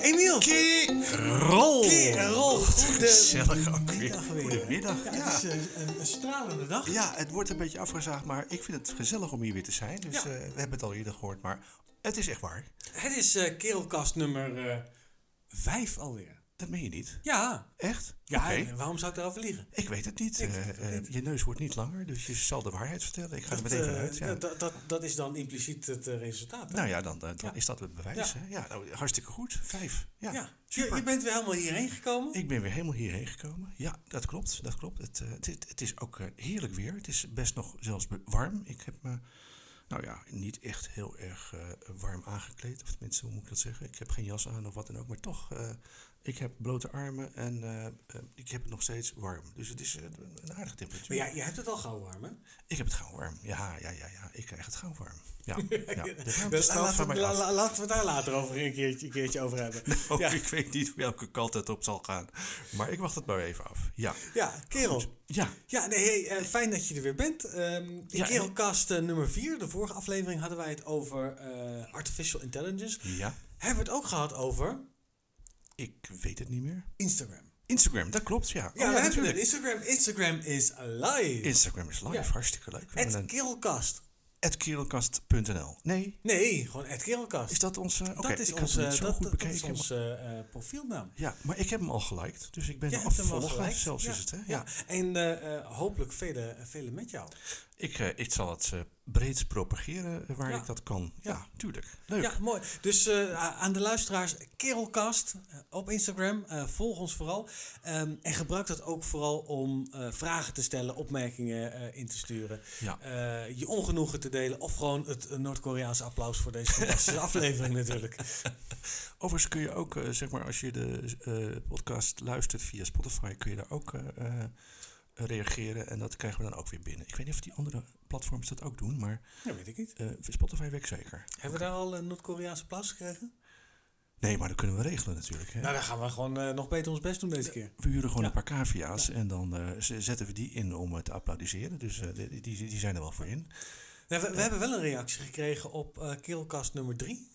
Emiel. Kerol. Kerel, Gezellig ook weer. Goedemiddag weer. Goedemiddag. Ja, Ja. het is eh, een, een stralende dag. Ja, het wordt een beetje afgezaagd, maar ik vind het gezellig om hier weer te zijn. Dus Ja. eh, we hebben het al eerder gehoord, maar het is echt waar. Het is eh kerelkast nummer eh 5 alweer. Dat meen je niet. Ja. Echt? Ja, Oké. en waarom zou ik daarover liegen? Ik weet het niet. Ik Eh, weet het eh, je neus wordt niet langer, dus je zal de waarheid vertellen. Ik ga er meteen eh, vanuit. Ja. dat- dat, dat, dat is dan impliciet het eh, resultaat. hè? Nou ja, dan, eh, dan Ja. is dat het bewijs. Ja. Ja, hè? ja nou, hartstikke goed. Vijf. Ja, ja. Je, super. je bent weer helemaal hierheen gekomen. Ik ben weer helemaal hierheen gekomen. Ja, dat klopt. Dat klopt. Het, eh, het, is- het is ook eh, heerlijk weer. Het is best nog zelfs be- warm. Ik heb me, nou ja, niet echt heel erg eh, warm aangekleed. Of tenminste, hoe moet ik dat zeggen? Ik heb geen jas aan of wat dan ook. Maar toch, eh, ik heb blote armen en eh, eh, ik heb het nog steeds warm. Dus het is eh, een aardige temperatuur. Maar ja, je hebt het al gauw warm, hè? Ik heb het gauw warm. Ja, ja, ja, ja. Ik krijg het gauw warm. Ja, ja. De Dus warmte straalt laten, van we, mij la- af. la- laten we het daar later over een keertje, een keertje over hebben. Oh, ja. Ik weet niet welke kant het op zal gaan. Maar ik wacht het maar even af. Ja. ja, kerel. Ja, Ja, nee, hey, eh, fijn dat je er weer bent. Ehm in Ja, en- Kerelkast eh, nummer 4, de vorige aflevering, hadden wij het over eh, artificial intelligence. ja. Hebben we het ook gehad over Ik weet het niet meer. Instagram? Instagram, dat klopt, ja. Oh, Ja, we hebben het. natuurlijk. Instagram. Instagram is alive. Instagram is live, Ja. hartstikke leuk. We hebben Het een- Kerelkast. At kerelkast.nl. Nee, Nee, gewoon het Kerelkast. is dat onze... Oké, dat is ik had hem onze, niet zo dat, goed dat- dat bekeken. is maar- onze eh, profielnaam. Ja, maar ik heb hem al geliked, dus ik ben Jij een hebt hem al afvolger. geliked, Zelfs ja, is het, hè? Ja. En eh, eh, hopelijk vele, vele met jou. Ik, eh, ik zal het eh, breed propageren eh, waar Ja. ik dat kan. Ja, Ja. tuurlijk. Leuk. Ja, mooi. Dus eh, a- aan de luisteraars, Kerelkast eh, op Instagram, eh, volg ons vooral. Ehm, en gebruik dat ook vooral om eh, vragen te stellen, opmerkingen eh, in te sturen. Ja. Eh, je ongenoegen te delen of gewoon het eh, Noord-Koreaanse applaus voor deze fantastische aflevering natuurlijk. Overigens kun je ook, eh, zeg maar, als je de eh, podcast luistert via Spotify, kun je daar ook eh, eh, reageren. En dat krijgen we dan ook weer binnen. Ik weet niet of die andere platforms dat ook doen, maar Dat weet ik niet. eh, Spotify werkt zeker. Hebben we daar al een Noord-Koreaanse applaus gekregen? Nee, maar dat kunnen we regelen natuurlijk. Hè? Nou, dan gaan we gewoon eh, nog beter ons best doen deze keer. we huren gewoon een paar cavia's en dan eh, z- zetten we die in om het te applaudisseren. Dus eh, die, die, die zijn er wel voor in. Nou, we, we hebben wel een reactie gekregen op eh Kerelkast nummer 3,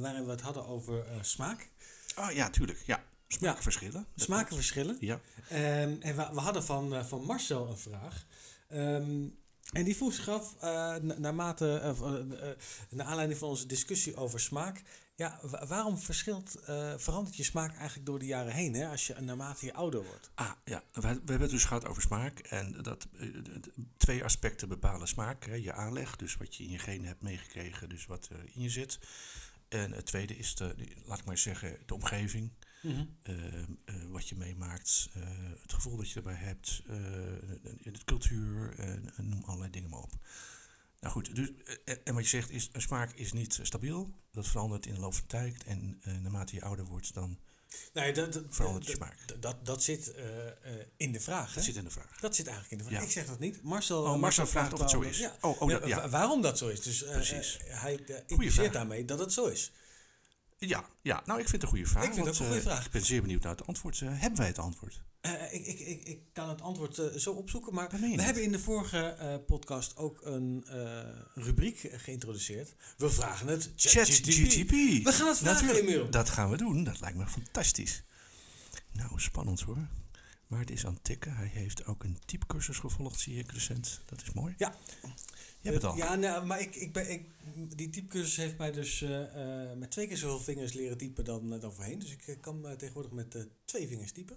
waarin we het hadden over eh, smaak. Ah ja, tuurlijk. Ja, smaakverschillen. Dat- Smakenverschillen. Ja. Ehm, en we, we hadden van, eh, van Marcel een vraag. Ehm, en die vroeg zich af, eh, na- naarmate, eh, van, eh, eh, naar aanleiding van onze discussie over smaak. Ja, wa- waarom verschilt, eh, verandert je smaak eigenlijk door de jaren heen, hè, als je naarmate je ouder wordt? Ah, ja. We, we hebben het dus gehad over smaak. En dat, eh, d- d- twee aspecten bepalen smaak. Hè. Je aanleg, dus wat je in je genen hebt meegekregen, dus wat eh, in je zit. En het tweede is, de, de- laat ik maar zeggen, de omgeving. Eh, eh, wat je meemaakt, eh, het gevoel dat je erbij hebt, eh, de, de cultuur, eh, en noem allerlei dingen maar op. Nou goed, dus, eh, en wat je zegt is, een smaak is niet stabiel. Dat verandert in de loop van de tijd. En eh, naarmate je ouder wordt, dan Nee, Nou dat, dat, verandert je dat, smaak. dat, dat, dat zit eh, eh, in de vraag. hè? Dat Eh, zit in de vraag. Dat zit eigenlijk in de vraag. Ja. Ik zeg dat niet. Marcel, Oh, Marcel vraagt of het zo waarom- is. Ja. Oh, oh, dat- wa- ja. Waarom dat zo is. Dus, eh, Precies. eh, hij eh, impliceert vraag. daarmee dat het zo is. Ja, ja, nou ik vind het een goede vraag. Ik vind het want, ook een goede eh, vraag. Ik ben zeer benieuwd naar het antwoord. Eh, hebben wij het antwoord? Eh, ik, ik, ik, ik kan het antwoord eh, zo opzoeken, maar Dat we meen je niet. hebben in de vorige eh, podcast ook een eh, rubriek geïntroduceerd. We vragen het ChatGPT. We gaan het vragen, Natuurlijk, Emiel. Dat gaan we doen. Dat lijkt me fantastisch. Nou, spannend hoor. Maar het is aan het tikken. Hij heeft ook een typecursus gevolgd, zie ik recent. Dat is mooi. Ja. Je hebt het al. Eh, Ja, nou, maar ik, ik ben, ik, die typecursus heeft mij dus eh, eh, met twee keer zoveel vingers leren typen dan, eh, dan voorheen. Dus ik eh, kan eh, tegenwoordig met eh, twee vingers typen.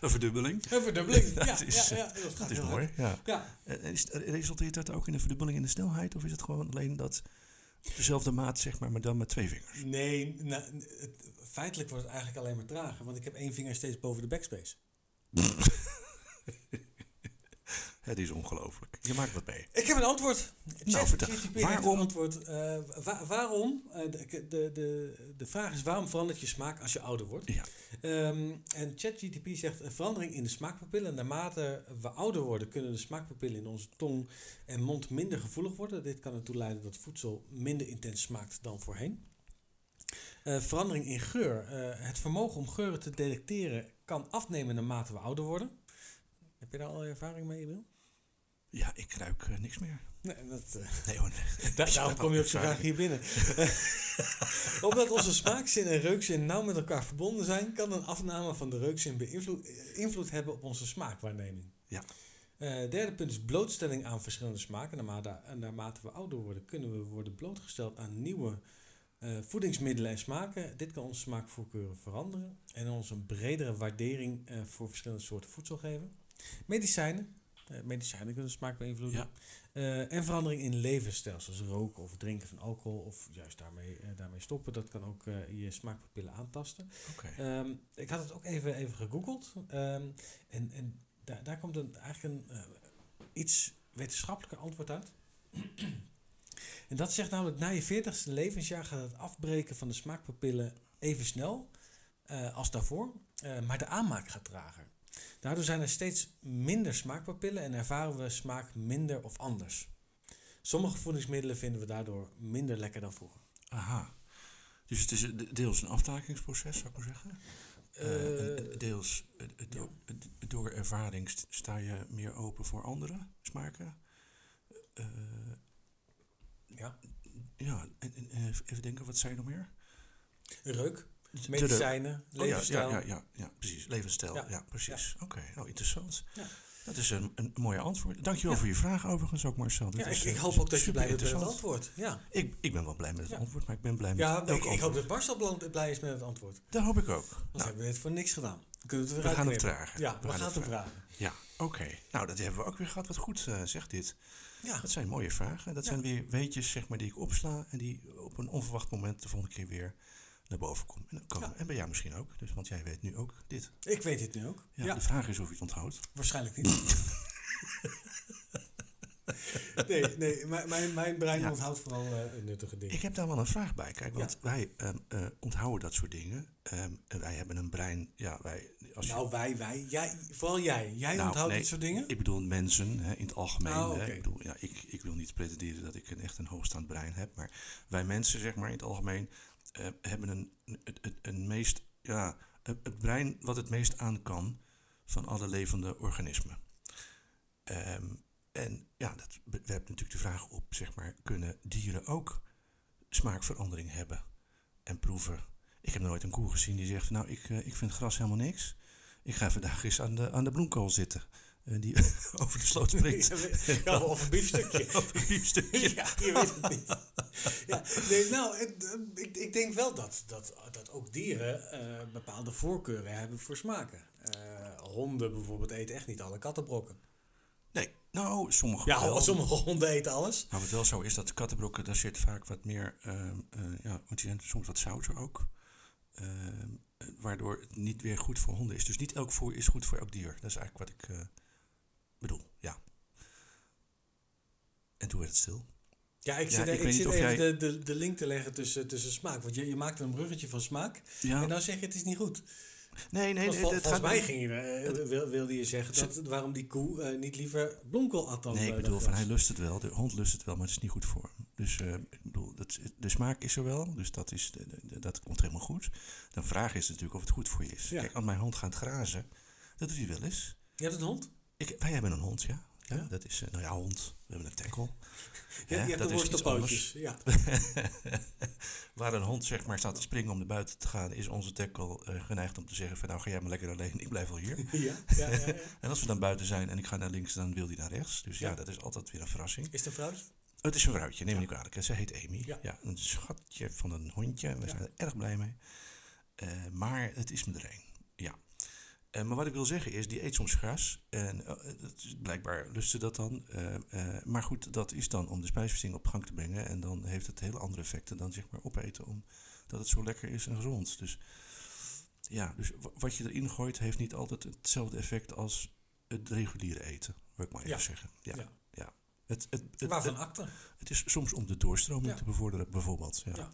Een verdubbeling. Een verdubbeling. Ja, Dat is, ja, ja, dat gaat Dat is heel mooi. hard. Ja. Ja, En is- eh, Resulteert dat ook in een verdubbeling in de snelheid? Of is het gewoon alleen dat op dezelfde maat, zeg maar, maar dan met twee vingers? nee, nou, het- feitelijk wordt het eigenlijk alleen maar trager, want ik heb één vinger steeds boven de backspace. Het is ongelooflijk. Je maakt wat mee. Ik heb een antwoord. Nou, Chat- vertel. ChatGPT heeft Waarom- een antwoord. Eh, wa- waarom? eh, de, de, de, de vraag is waarom verandert je smaak als je ouder wordt? Ja. Ehm, en ChatGTP zegt een verandering in de smaakpapillen. Naarmate we ouder worden, kunnen de smaakpapillen in onze tong en mond minder gevoelig worden. Dit kan ertoe leiden dat voedsel minder intens smaakt dan voorheen. Eh, verandering in geur. Eh, het vermogen om geuren te detecteren kan afnemen naarmate we ouder worden. Heb je daar al ervaring mee, Emil? Ja, ik ruik eh, niks meer. Nee, dat, eh, Nee hoor. nee. Da- daarom kom je ook zo graag hier binnen. Omdat onze smaakzin en reukzin nauw met elkaar verbonden zijn, kan een afname van de reukzin beïnvloed, invloed hebben op onze smaakwaarneming. Ja. Eh, derde punt is blootstelling aan verschillende smaken. Naarmate, en naarmate we ouder worden, kunnen we worden blootgesteld aan nieuwe eh, voedingsmiddelen en smaken. Dit kan onze smaakvoorkeuren veranderen en ons een bredere waardering eh, voor verschillende soorten voedsel geven. Medicijnen. Eh, medicijnen kunnen smaak beïnvloeden. Ja. Eh, en verandering in levensstijl, zoals roken of drinken van alcohol of juist daarmee, eh, daarmee stoppen. Dat kan ook eh, je smaakpapillen aantasten. Oké. Ehm, ik had het ook even, even gegoogeld. Ehm, en en daar, daar komt een, eigenlijk een eh, iets wetenschappelijker antwoord uit. en dat zegt namelijk, na je 40ste levensjaar gaat het afbreken van de smaakpapillen even snel eh, als daarvoor. eh, maar de aanmaak gaat trager. Daardoor zijn er steeds minder smaakpapillen en ervaren we smaak minder of anders. Sommige voedingsmiddelen vinden we daardoor minder lekker dan vroeger. Aha. Dus het is een de- deels een aftakingsproces, zou ik maar zeggen. Eh, en- en Eh, deels eh, eh, do- eh, door ervaring st- sta je meer open voor andere smaken. Eh, Ja. Ja, en, en- en even even denken, wat zijn er nog meer? Reuk, De- de- medicijnen, Oh, ja, Dus levensstijl. Ja, ja, ja, ja, precies. Levensstijl. Ja. Ja, precies. Oké, nou interessant. Ja. Dat is een, een mooie antwoord. Dankjewel Ja. voor je vraag overigens ook, Marcel. Dit Ja, ik, is, ik eh, hoop ook dat je blij bent met het superinteressant. antwoord. Ja, Ik, ik ben wel blij met het Ja. antwoord, maar ik ben blij met ja elk ik, ik hoop antwoord. dat Marcel bl- blij is met het antwoord. Anders Dat hoop ik ook. Nou, hebben we het voor niks gedaan. Dan kunnen we het we weer gaan het uitknippen. vragen. Ja, we, gaan het hem vragen. vragen. Ja, oké. Nou, dat hebben we ook weer gehad. Wat goed eh, zegt dit. Ja, Dat zijn mooie vragen. Dat Ja. zijn weer weetjes zeg maar, die ik opsla en die op een onverwacht moment de volgende keer weer naar boven komen. En, dat kan. Ja. en bij jou misschien ook, dus, want jij weet nu ook dit. ik weet het nu ook. Ja, Ja, De vraag is of je het onthoudt. waarschijnlijk niet. nee, nee mijn, mijn, mijn brein Ja. onthoudt vooral eh, nuttige dingen. Ik heb daar wel een vraag bij. Kijk, want Ja. wij ehm, eh, onthouden dat soort dingen. Ehm, en wij hebben een brein. Ja, wij. Als je- nou, wij, wij. Jij, vooral jij. Jij Nou, onthoudt nee, dit soort dingen? Ik bedoel mensen hè, in het algemeen. Oh, hè. oké. Ik, bedoel, ja, ik, ik wil niet pretenderen dat ik een, echt een hoogstaand brein heb. Maar wij mensen, zeg maar, in het algemeen eh, hebben een, een, een, een meest. Ja, het, het brein wat het meest aan kan van alle levende organismen. Ehm, en ja, dat be- werpt natuurlijk de vraag op, zeg maar, kunnen dieren ook smaakverandering hebben en proeven? Ik heb nooit een koe gezien die zegt, nou, ik, eh, ik vind gras helemaal niks. Ik ga vandaag eens aan de, aan de bloemkool zitten. En die over de sloot springt. ja, of een biefstukje. Op een biefstukje. Ja, je weet het niet. Ja, nee, nou, het, eh, ik, ik denk wel dat, dat, dat ook dieren eh, bepaalde voorkeuren hebben voor smaken. Eh, honden bijvoorbeeld eten echt niet alle kattenbrokken. Nee, nou, sommige Ja, wel. sommige honden eten alles. Maar Nou, wat wel zo is, dat kattenbrokken, daar zit vaak wat meer, ehm, eh, ja, want die zijn soms wat zouter ook. Ehm, eh, waardoor het niet weer goed voor honden is. Dus niet elk voer is goed voor elk dier. Dat is eigenlijk wat ik eh, bedoel, ja. En toen werd het stil. Ja, ik Ja, zit, ik ik weet zit niet of even jij- de, de, de link te leggen tussen, tussen smaak. Want je, je maakt een bruggetje van smaak. Ja, En dan zeg je het is niet goed. nee, nee, Want nee, vol- het volgens gaat mij niet- ging je, eh, wil, wilde je zeggen dat, waarom die koe eh, niet liever bloemkool at dan Nee, eh, ik dat bedoel, van gras. hij lust het wel, de hond lust het wel, maar het is niet goed voor hem. Dus eh, ik bedoel, dat, de smaak is er wel, dus dat, is, de- de- de- dat komt helemaal goed. De vraag is natuurlijk of het goed voor je is. Ja. Kijk, als mijn hond gaat grazen, dat doet hij wel eens. Je hebt een hond? Ik, wij hebben een hond, ja. ja, Ja? Dat is, eh, nou ja, hond. We hebben een tackle. Je, Hè, je hebt dat de is iets worstelpootjes. Ja. Waar een hond zeg maar staat te springen om naar buiten te gaan, is onze tackle eh, geneigd om te zeggen van nou ga jij maar lekker alleen, ik blijf wel hier. Ja, ja, ja, ja. en als we dan buiten zijn en ik ga naar links, dan wil hij naar rechts. Dus ja, Ja. dat is altijd weer een verrassing. Is het een vrouwtje? Oh, het is een vrouwtje, neem me niet kwalijk. hè. Ze heet Amy. Ja. Ja. een schatje van een hondje. We Ja. zijn er erg blij mee. Eh, maar het is me er een. Ja. Eh, maar wat ik wil zeggen is, die eet soms gras. En eh, dat is- blijkbaar lust ze dat dan. Eh, eh, maar goed, dat is dan om de spijsvertering op gang te brengen. En dan heeft het hele andere effecten dan zeg maar opeten. Omdat het zo lekker is en gezond. Dus ja, dus wa- wat je erin gooit heeft niet altijd hetzelfde effect als het reguliere eten. Wil ik maar even Ja. zeggen. Ja. ja. Ja. Het, het, het, Waarvan acte? het is soms om de doorstroming Ja. te bevorderen, bijvoorbeeld. Ja. Ja.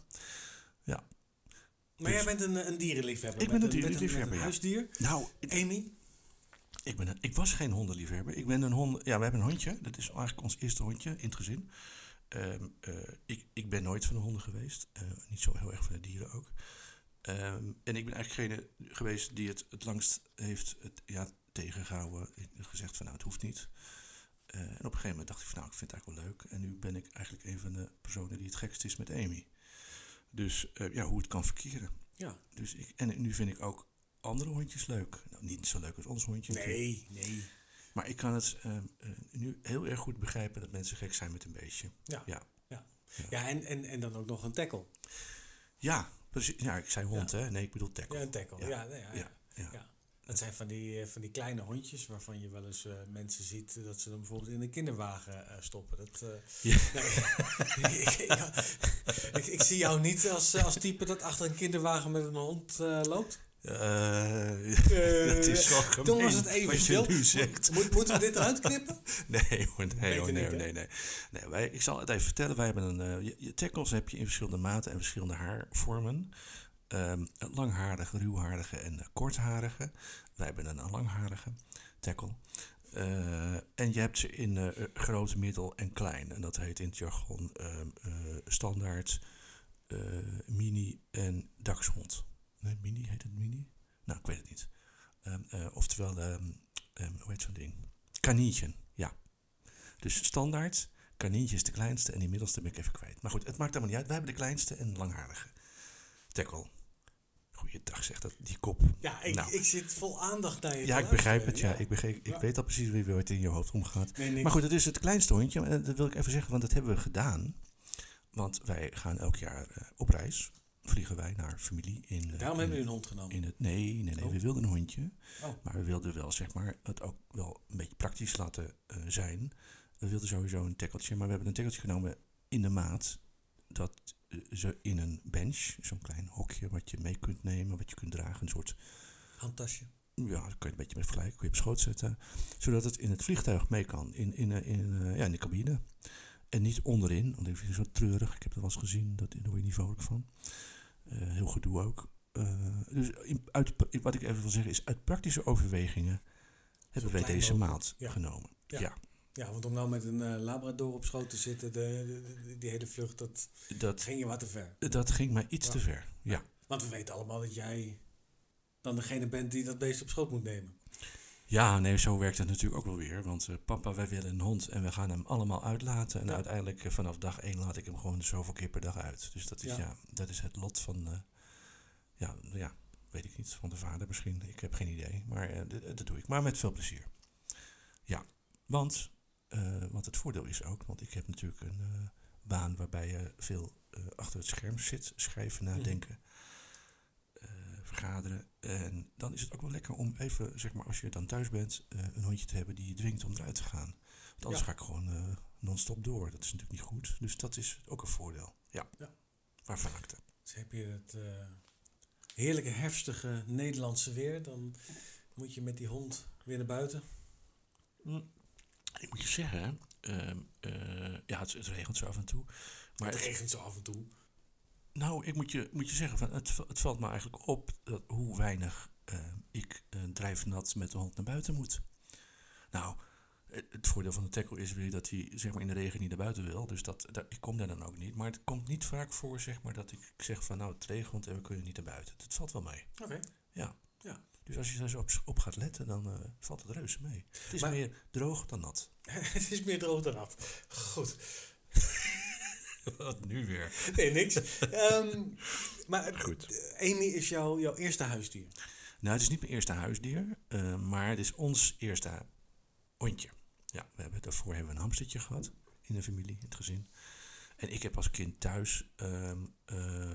Ja. Maar Dus- jij bent een, eh, een dierenliefhebber. Ik ben met een met dierenliefhebber, met ja. huisdier. Nou, ik, Amy? ik, ben een- ik was geen hondenliefhebber. Ik ben een hond. Ja, we hebben een hondje. Dat is eigenlijk ons eerste hondje in het gezin. Ehm, eh, ik, ik ben nooit van de honden geweest. Eh, niet zo heel erg van de dieren ook. Ehm, en ik ben eigenlijk degene geweest die het het langst heeft het, ja, tegengehouden. Ik heb Gezegd van nou, het hoeft niet. Eh, en op een gegeven moment dacht ik van nou, ik vind het eigenlijk wel leuk. En nu ben ik eigenlijk een van de personen die het gekst is met Amy. Dus eh, ja, hoe het kan verkeren. Ja. Dus ik, en nu vind ik ook andere hondjes leuk. Nou, niet zo leuk als ons hondje. natuurlijk. Nee, nee. Maar ik kan het eh, eh, nu heel erg goed begrijpen dat mensen gek zijn met een beestje. Ja. Ja, Ja, en, en, en dan ook nog een tackle. ja, precies. ja ik zei hond, hè? Nee, ik bedoel tackle. Ja, een tackle. Ja, Ja. nee, ja, Ja, ja. ja. Dat zijn van die, eh, van die kleine hondjes waarvan je wel eens eh, mensen ziet eh, dat ze hem bijvoorbeeld in een kinderwagen eh, stoppen. Dat, eh, Ja. nee, ik, ja, ik, ik zie jou niet als, eh, als type dat achter een kinderwagen met een hond eh, loopt. Eh, dat is wel gemeen. Toen was het even wat stil. je nu zegt. Moet, moeten we dit eruit knippen? Nee hoor, nee hoor, Beter nee, niet, hoor, hè? nee, nee. nee wij, ik zal het even vertellen. Wij hebben een, eh, je, je tackles heb je in verschillende maten en verschillende haarvormen. Ehm langharige, ruwharige en eh, kortharige. Wij hebben een langharige tackle. Eh, en je hebt ze in eh, eh, groot, middel en klein. En dat heet in het jargon ehm, eh, standaard, eh, mini en dachshond. Nee, mini heet het mini? Nou, ik weet het niet. Ehm, eh, oftewel, ehm, ehm, hoe heet zo'n ding? Kanientje, ja. Dus standaard, kanientje is de kleinste en die middelste ben ik even kwijt. Maar goed, het maakt allemaal niet uit. Wij hebben de kleinste en langharige. Tackle. Goeiedag, zegt dat, die kop. Ja, ik, Nou. ik zit vol aandacht naar je. te Ja, ik luisteren. begrijp het. Ja, ik, begreep, ik Ja. weet al precies wie het in je hoofd omgaat. Nee, nee, Maar goed, het is het kleinste hondje. En dat wil ik even zeggen, want dat hebben we gedaan. Want wij gaan elk jaar eh, op reis. Vliegen wij naar familie in. eh, daarom in, hebben jullie een hond genomen. in het, nee, nee, nee. Oh. We wilden een hondje. Oh. Maar we wilden wel, zeg maar, het ook wel een beetje praktisch laten eh, zijn. We wilden sowieso een tekkeltje. Maar we hebben een tekkeltje genomen in de maat. Dat eh, ze in een bench, zo'n klein hokje wat je mee kunt nemen, wat je kunt dragen. Een soort Handtasje. ja, daar kun je een beetje mee vergelijken, kun je op schoot zetten. Zodat het in het vliegtuig mee kan, in, in, eh, in, eh, ja, in de cabine. En niet onderin, want ik vind het zo treurig. Ik heb dat wel eens gezien, dat, daar word je niet vrolijk van. Eh, heel gedoe ook. Eh, dus in, uit, wat ik even wil zeggen is, uit praktische overwegingen hebben wij klein deze mogelijk, maat ja. genomen. Ja. Ja. Ja, want om nou met een eh, labrador op schoot te zitten, de, de- de- die hele vlucht, dat Dat, ging je wat te ver. dat ging mij iets Ja. te ver. Ja. Want we weten allemaal dat jij dan degene bent die dat beest op schoot moet nemen. Ja, nee, zo werkt het natuurlijk ook wel weer. Want eh, papa, wij willen een hond en we gaan hem allemaal uitlaten. En Ja. uiteindelijk eh, vanaf dag één laat ik hem gewoon zoveel keer per dag uit. Dus dat is, Ja. ja. dat is het lot van, eh, ja, nou ja, weet ik niet, van de vader misschien. Ik heb geen idee, maar eh, d- dat doe ik. Maar met veel plezier. Ja, want, eh want het voordeel is ook, want ik heb natuurlijk een eh, baan waarbij je veel eh, achter het scherm zit. Schrijven, Mhm. nadenken eh, vergaderen. En dan is het ook wel lekker om even, zeg maar, als je dan thuis bent, eh, een hondje te hebben die je dwingt om eruit te gaan. Want anders Ja. ga ik gewoon eh, non-stop door. Dat is natuurlijk niet goed. Dus dat is ook een voordeel. Ja. Ja. Waarvan acte. Dus heb je het eh, heerlijke herfstige Nederlandse weer, dan moet je met die hond weer naar buiten. Ik moet je zeggen, ehm, eh, ja, het, het regent zo af en toe. Maar het het- regent zo af en toe. Nou, ik moet je, moet je zeggen, van, het, va- het valt me eigenlijk op dat hoe weinig eh, ik eh, drijfnat met de hond naar buiten moet. Nou, het, het voordeel van de tackle is weer dat hij zeg maar, in de regen niet naar buiten wil. Dus dat, daar- ik kom daar dan ook niet. Maar het komt niet vaak voor zeg maar, dat ik zeg van nou het regent en we kunnen niet naar buiten. Dat valt wel mee. Oké. Dus als je daar zo op, op gaat letten, dan eh, valt het reuze mee. Het is Maar- meer droog dan nat. het is meer droog dan nat. Goed. Wat nu weer? Nee, niks. Ehm, maar eh, Goed. Amy is jouw, jouw eerste huisdier. Nou, het is niet mijn eerste huisdier, eh, maar het is ons eerste hondje. Ja, we hebben, daarvoor hebben we een hamstertje gehad in de familie, in het gezin. En ik heb als kind thuis ehm eh,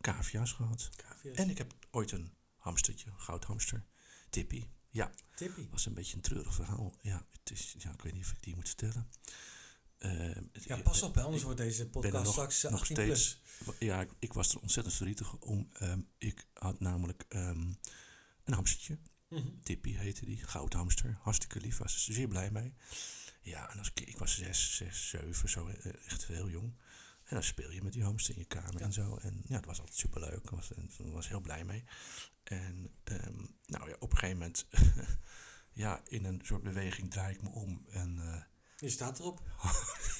cavia's gehad. Kavia's. En ik heb ooit een hamstertje, een goudhamster, Tippy. Ja, Tippy. was een beetje een treurig verhaal. Ja, het is, ja ik weet niet of ik die moet vertellen. Eh, het- Ja, pas op, hè, anders wordt deze ben podcast er nog- straks eh, nog 18 steeds plus. eh, ja, ik, ik was er ontzettend verdrietig om. Ehm, ik had namelijk ehm, een hamstertje. Mhm. Tippy heette die, goudhamster. Hartstikke lief, was ze zeer blij mee. Ja, en als ik, ik was zes, zes, zeven, zo eh, echt heel jong. En dan speel je met die hamster in je kamer Ja. en zo. En ja, dat was altijd superleuk. Ik was, en, was heel blij mee. En ehm, nou ja, op een gegeven moment, ja, in een soort beweging draai ik me om. En eh, Je staat erop.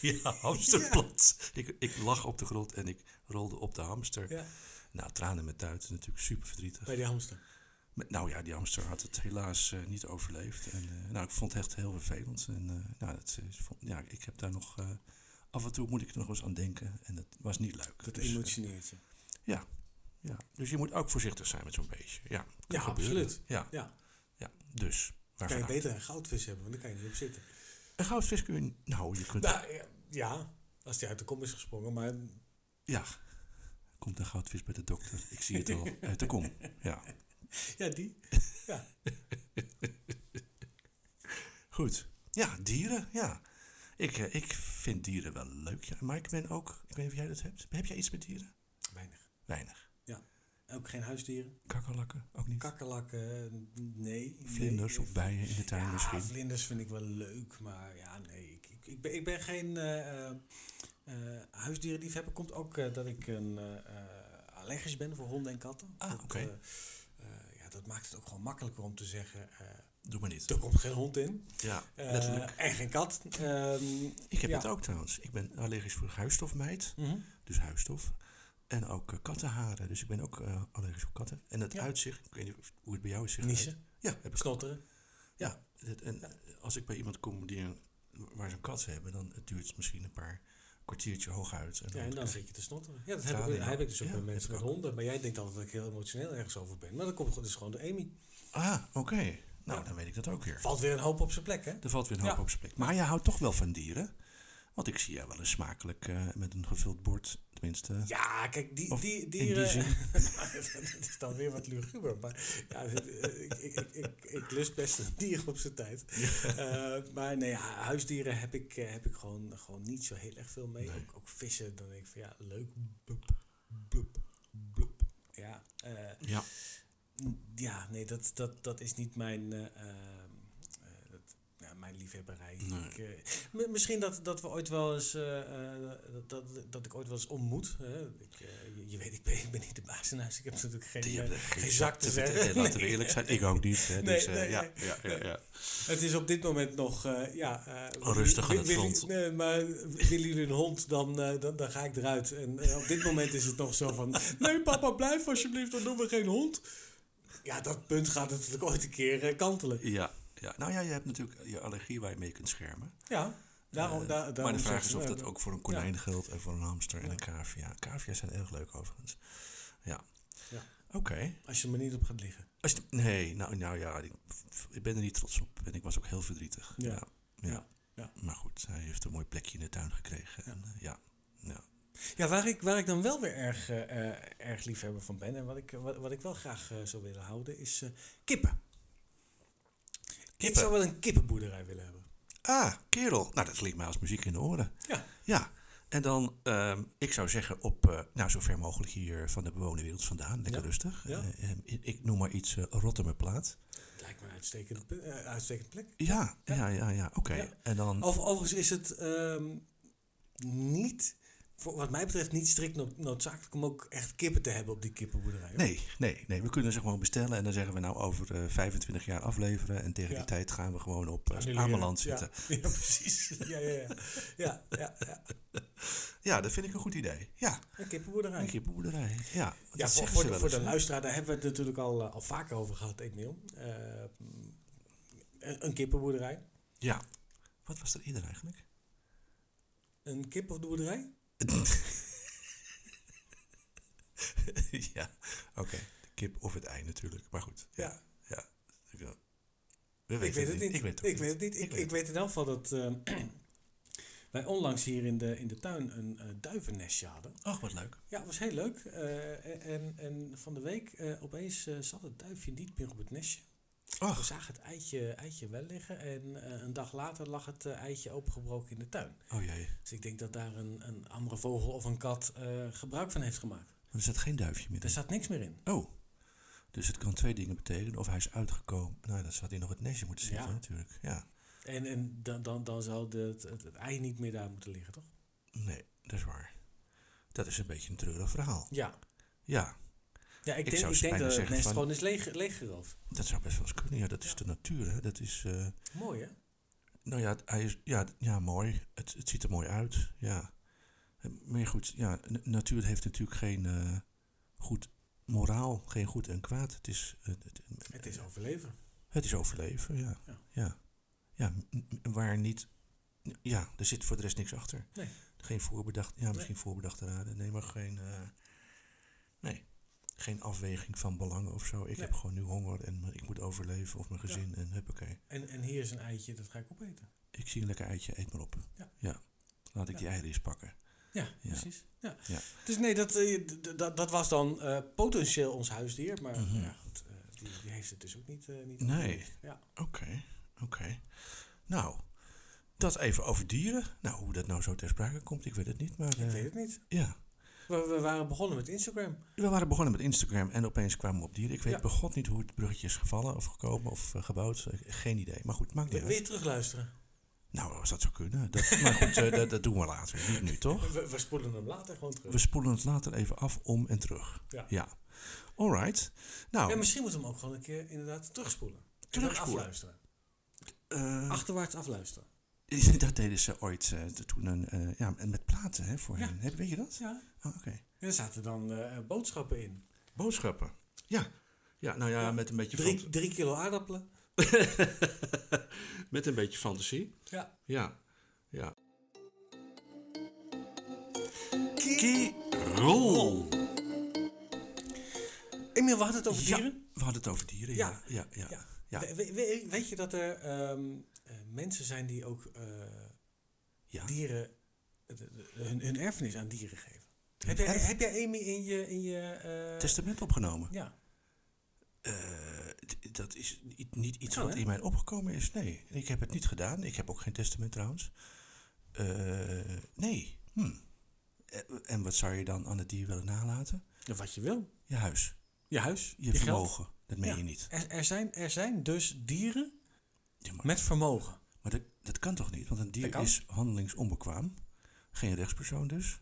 ja, hamsterplat. Ik, ik lag op de grond en ik rolde op de hamster. Ja. Oh Nou, tranen met tuiten, natuurlijk super verdrietig. Bij die hamster. Met- Nou ja, die hamster had het helaas eh, niet overleefd. En, eh, nou, ik vond het echt heel vervelend. En, eh, nou, dat, is- vond- ja, ik heb daar nog... eh, af en toe moet ik er nog eens aan denken. En dat was niet leuk. Dat Dus, eh, emotioneert je. Ja. ja. Dus je moet ook voorzichtig zijn met zo'n beestje. Ja, kan Ja, gebeuren. absoluut. Ja. Ja. ja. Dus, waar Kan je vandaan? beter een goudvis hebben, want dan kan je niet op zitten. Een goudvis kun je... Nou, je kunt... Nou, ja, ja, als die uit de kom is gesprongen, maar Ja. Komt een goudvis bij de dokter. Ik zie het al. Uit de kom. Ja. ja, die. Goed. Ja, dieren. Ja. Ik, eh, ik vind dieren wel leuk. Ja. Maar ik ben ook... Ik weet niet of jij dat hebt. Heb jij iets met dieren? Weinig. Weinig. Ook geen huisdieren. Kakkerlakken? Ook niet? Kakkerlakken, nee. Vlinders nee. of bijen in de tuin ja, misschien? vlinders vind ik wel leuk, maar ja, nee. Ik, ik, ik, ben, ik ben geen eh eh, eh, huisdierenliefhebber. Komt ook eh, dat ik een eh, eh, allergisch ben voor honden en katten. Ah, Dat, oké. eh, eh, ja, dat maakt het ook gewoon makkelijker om te zeggen, eh, Doe maar niet. er komt geen hond in. Ja, eh, letterlijk. en geen kat. Ehm, Ik heb ja. het ook trouwens. Ik ben allergisch voor huisstofmijt. mhm. dus huisstof. En ook eh, kattenharen. Dus ik ben ook eh, allergisch voor katten. En het Ja. uitzicht, ik weet niet of- hoe het bij jou is. zich uit- Niezen, Ja, heb ik snotteren. Het- En eh, als ik bij iemand kom die een, waar ze een kat hebben, dan het duurt het misschien een paar kwartiertje hooguit. En Ja, en dan krijg- zit je te snotteren. Ja, dat Ja, heb, ik, nee, heb ik dus ook ja, bij heb mensen ik met ook. honden. Maar jij denkt altijd dat ik heel emotioneel ergens over ben. Maar dan komt het dus gewoon de Amy. Ah, oké. Ja. Nou, dan weet ik dat ook weer. Valt weer een hoop op zijn plek, hè? Er valt weer een hoop Ja. op zijn plek. Maar jij houdt toch wel van dieren? Want ik zie jou wel eens smakelijk eh, met een gevuld bord. Tenminste, Ja, kijk, die, eh, Of die in die dieren... zin. dat is dan weer wat luguber. Maar ja, eh, ik, ik, ik, ik, ik lust best een dier op zijn tijd. Eh, maar nee, ja, huisdieren heb ik, eh, heb ik gewoon, gewoon niet zo heel erg veel mee. Nee. Ook, ook vissen, dan denk ik van ja, leuk. Blup, blup, blup. Ja, eh, Ja. Ja, nee, dat, dat, dat is niet mijn, eh, ehm, eh, dat, ja, mijn liefhebberij. Nee. Ik, eh, mi- misschien dat, dat we ooit wel eens, eh, eh, dat, dat, dat ik ooit wel eens ontmoet. Hè? Ik, eh, je, je weet, ik ben, ik ben niet de baas in huis. Ik heb natuurlijk geen... Die eh, hebben geen zak zak te te zeggen. vertellen. Laten we Nee. eerlijk zijn. Ik ook niet. Hè, Nee, dus, eh, nee, ja, nee. ja, ja, ja. het is op dit moment nog, eh, ja... eh, Oh, Rustig aan wil- het wil- front. Nee, maar willen jullie een hond, dan, eh, dan, dan ga ik eruit. En eh, op dit moment is het nog zo van... Nee, papa, blijf alsjeblieft, dan doen we geen hond. Ja, dat punt gaat natuurlijk ooit een keer eh, kantelen. Ja, ja, nou ja, je hebt natuurlijk je allergie waar je mee kunt schermen. Ja, daarom, Eh, daar, maar daarom de vraag zeggen is ze, of eh, dat ook voor een konijn geldt en voor een hamster en een cavia. Cavia's zijn erg leuk overigens. Ja. Ja. Oké. Als je er maar niet op gaat liggen. Als je- Nee, nou, nou ja, ik, ik ben er niet trots op. En ik was ook heel verdrietig. Ja. Ja. Ja. Ja. Ja. Maar goed, hij heeft een mooi plekje in de tuin gekregen. En, eh, ja. Ja. Ja, waar ik, waar ik dan wel weer erg, eh, eh, erg liefhebber van ben en wat ik, eh, wat, wat ik wel graag eh, zou willen houden is eh, kippen. Ik Kippen. zou wel een kippenboerderij willen hebben. Ah, kerel. Nou, dat klinkt mij als muziek in de oren. Ja. Ja. En dan, ehm, ik zou zeggen, op eh, nou, zo ver mogelijk hier van de bewoonde wereld vandaan. Lekker Ja. rustig. Ja. Eh, ehm, ik, ik noem maar iets eh Rotterdamplaat. Lijkt me een uitstekende, pu- eh, uitstekende plek. Ja, ja, ja, ja. Oké. Ja. Oh. En dan. Over, overigens is het ehm, niet, voor, wat mij betreft, niet strikt no- noodzakelijk om ook echt kippen te hebben op die kippenboerderij. hoor. Nee, nee, nee. We kunnen ze gewoon bestellen en dan zeggen we nou over eh, 25 jaar afleveren. En tegen Ja. die tijd gaan we gewoon op eh Annuleren. Ameland Ja. zitten. Ja, precies. Ja, ja, ja. ja, ja, ja. Ja. dat vind ik een goed idee. Ja, Een kippenboerderij. een kippenboerderij. Ja, Ja, want dat voor, zeggen voor, ze de, wel voor eens, de hè? luisteraar, daar hebben we het natuurlijk al, eh, al vaker over gehad, Emiel. Eh, mm, een, een kippenboerderij. Ja. Wat was er eerder eigenlijk? Een kippenboerderij? ja, oké. De kip of het ei natuurlijk. Maar goed. Ja. ja. Ik, eh, We Ik weten weet het niet. Ik weet het ook Ik weet het niet. Ik Ik, weet ik weet in elk geval dat eh, wij onlangs hier in de, in de tuin een eh, duivennestje hadden. Ach, wat leuk. Ja, was heel leuk. Eh, en, en van de week eh, opeens eh, zat het duifje niet meer op het nestje. We Ach, zagen het eitje, eitje wel liggen en eh, een dag later lag het eh, eitje opengebroken in de tuin. oh jee. Dus ik denk dat daar een, een andere vogel of een kat eh, gebruik van heeft gemaakt. Er zat geen duifje meer Er in. zat niks meer in. Oh. Dus het kan twee dingen betekenen. Of hij is uitgekomen. Nou, dan zou hij nog het nestje moeten Ja. zitten natuurlijk. Ja. En, en dan, dan, dan zou de, het, het, het ei niet meer daar moeten liggen, toch? Nee, dat is waar. Dat is een beetje een treurig verhaal. Ja. Ja, Ja, ik, Ik denk, zou ik denk bijna dat het zeggen nest van- gewoon is leeg, leeggeroofd. dat zou best wel eens kunnen. Ja, dat is de natuur. Hè. Dat is, eh, Mooi, hè? nou ja, hij is, ja, d- ja mooi. Het, het ziet er mooi uit. Ja. Eh, Maar goed, ja, n- natuur heeft natuurlijk geen eh, goed moraal, geen goed en kwaad. Het is, eh, het, Het is overleven. het is overleven, ja. Ja. Ja, ja. m- m- waar niet... Ja, er zit voor de rest niks achter. Nee. Geen voorbedachte... Ja, misschien voorbedachte raden. Nee, maar geen... eh, geen afweging van belangen of zo. Ik Nee. heb gewoon nu honger en eh, ik moet overleven of mijn Ja. gezin en huppakee. En, en hier is een eitje, dat ga ik opeten. Ik zie een lekker eitje, eet maar op. Ja. Laat ik Ja. die eieren eens pakken. Ja, Ja. precies. Ja. Ja. Dus nee, dat, eh, d- d- dat was dan eh, potentieel ons huisdier. Maar Mhm. ja, goed, eh, die, die heeft het dus ook niet. eh, niet Nee. opgelost. Ja. Oké, oké. Nou, dat even over dieren. Nou, hoe dat nou zo ter sprake komt, ik weet het niet. Maar Ik eh, weet het niet. ja, We, we waren begonnen met Instagram. we waren begonnen met Instagram en opeens kwamen we op dieren. Ik weet Ja. bij god niet hoe het bruggetje is gevallen of gekomen of eh, gebouwd. Eh, Geen idee. Maar goed, maakt niet Wil uit. je terugluisteren? Nou, als dat zou kunnen. Dat, maar goed, eh, dat, dat doen we later. Niet nu, toch? We, we Oh. spoelen hem later gewoon terug. We spoelen het later even af, om en terug. Ja. Alright. Nou, En misschien moeten we hem ook gewoon een keer inderdaad terugspoelen. En dan Terugspoelen? afluisteren. eh, Achterwaarts afluisteren. dat deden ze ooit eh, toen een, eh, ja, en met platen hè, voorheen. Heb- Weet je dat? Ja. Oh, Oké. En er zaten dan eh, boodschappen in. Boodschappen. Ja. Ja, nou ja, Ja. Met, een beetje Drie, drie kilo aardappelen. fant- met een beetje fantasie. Ja. Ja. ja. Kirol. Emiel, we hadden het over Ja, dieren. we hadden het over dieren. Ja. Ja, ja, ja. Ja. We- we- we- weet je dat er ehm, eh, mensen zijn die ook eh, Ja. dieren de- de- hun, hun erfenis aan dieren geven? Hun heb, jij, erf- heb jij Amy in je... In je eh, Testament opgenomen. ja. Eh, d- dat is i- niet iets Kan, wat Oh, hè? in mij opgekomen is. Nee, ik heb het niet gedaan. Ik heb ook geen testament trouwens. Eh, nee. Hm. Eh, En wat zou je dan aan het dier willen nalaten? Ja, Wat je wil. Je huis, Je huis. je, geld. vermogen. Dat meen Ja. je niet. Er, er, zijn, er zijn dus dieren Ja, maar met vermogen. maar dat, dat kan toch niet? Want een Dat dier kan. is handelingsonbekwaam. Geen rechtspersoon dus.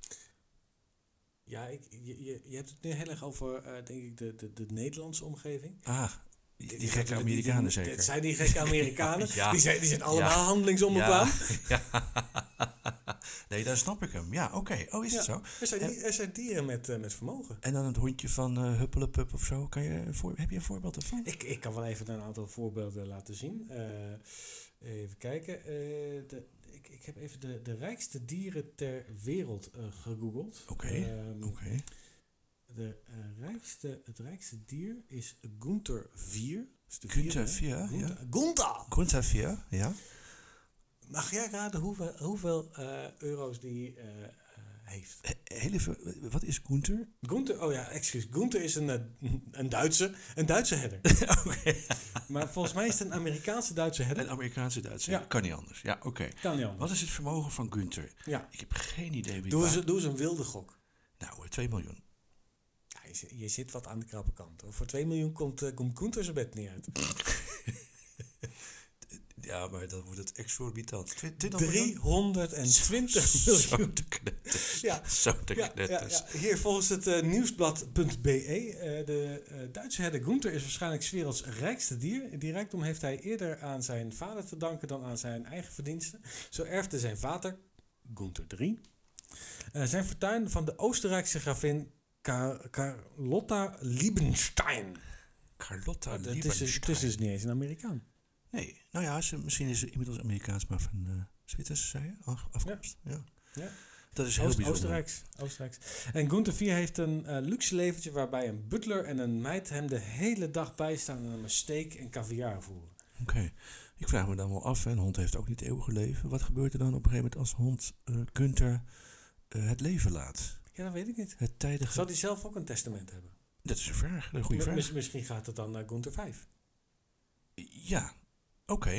Ja, ik, je, je, je hebt het nu heel erg over, eh, denk ik, de, de, de Nederlandse omgeving. Ah, die, die Die- gekke die- Amerikanen die- zeker. Het zijn die gekke Amerikanen. Ja. die, zijn, die zijn allemaal handelingsonbekwaam. Ja. ja. nee, daar snap ik hem. Ja, oké. Oh, is het Ja. zo? Er, zijn, En- die- er zijn dieren met, eh, met vermogen. En dan het hondje van eh Huppelepup of zo. Kan je een voor, heb je een voorbeeld ervan? Ik, ik kan wel even een aantal voorbeelden laten zien. Eh, even kijken. Eh, de, ik, ik heb even de, de rijkste dieren ter wereld eh, gegoogeld. Oké, Ehm, Oké. de, eh, rijkste, het rijkste dier is Gunther 4. Gunther Vier, ja. Gunther! Grundsaphir, ja. Mag jij raden hoeveel, hoeveel eh, euro's die eh, eh, heeft? He- Heel even, wat is Gunther? Gunther, oh ja, excuus. Gunther is een, eh, een Duitse, een Duitse herder. Maar volgens mij is het een Amerikaanse Duitse herder. Een Amerikaanse Duitser. Ja. Kan niet anders. Ja, oké. Kan niet anders. Wat is het vermogen van Gunther? Ja. Ik heb geen idee wie Doe waar- eens, doe eens een wilde gok. Nou, eh, 2 miljoen. Ja, je, zit- je zit wat aan de krappe kant. hoor. Voor 2 miljoen komt, eh, komt Gunther zijn bed niet uit. Ja, maar dan wordt het exorbitant. 320 miljoen. Zo dus. te knetters. Ja. Zo te Ja, ja, knetters. ja. Hier volgens het eh, nieuwsblad.be. eh, de eh, Duitse herder Gunther is waarschijnlijk 's werelds rijkste dier. Die rijkdom heeft hij eerder aan zijn vader te danken dan aan zijn eigen verdiensten. Zo erfde zijn vader, Gunther III, eh, zijn fortuin van de Oostenrijkse gravin Ka- Carlotta Liebenstein. Carlotta Het is, dus- het is Ah, Liebenstein. dus niet eens een Amerikaan. Nee, nou ja, ze, misschien is ze inmiddels Amerikaans, maar van eh Zwitsers, zei je? Af- Afkomst? Ja. Ja. Dat is heel Oost- bijzonder. Oostenrijks, Oostenrijks. En Gunther Vier heeft een eh, luxe leventje waarbij een butler en een meid hem de hele dag bijstaan en hem een steak en caviar voeren. Oké. Ik vraag me dan wel af, hè, een hond heeft ook niet eeuwig leven. Wat gebeurt er dan op een gegeven moment als hond eh Gunther eh, het leven laat? Ja, dat weet ik niet. Het tijdige... Zou die zelf ook een testament hebben? Dat is een vraag, een goede Mi- vraag. mis- misschien gaat het dan naar Gunther 5. Ja, oké.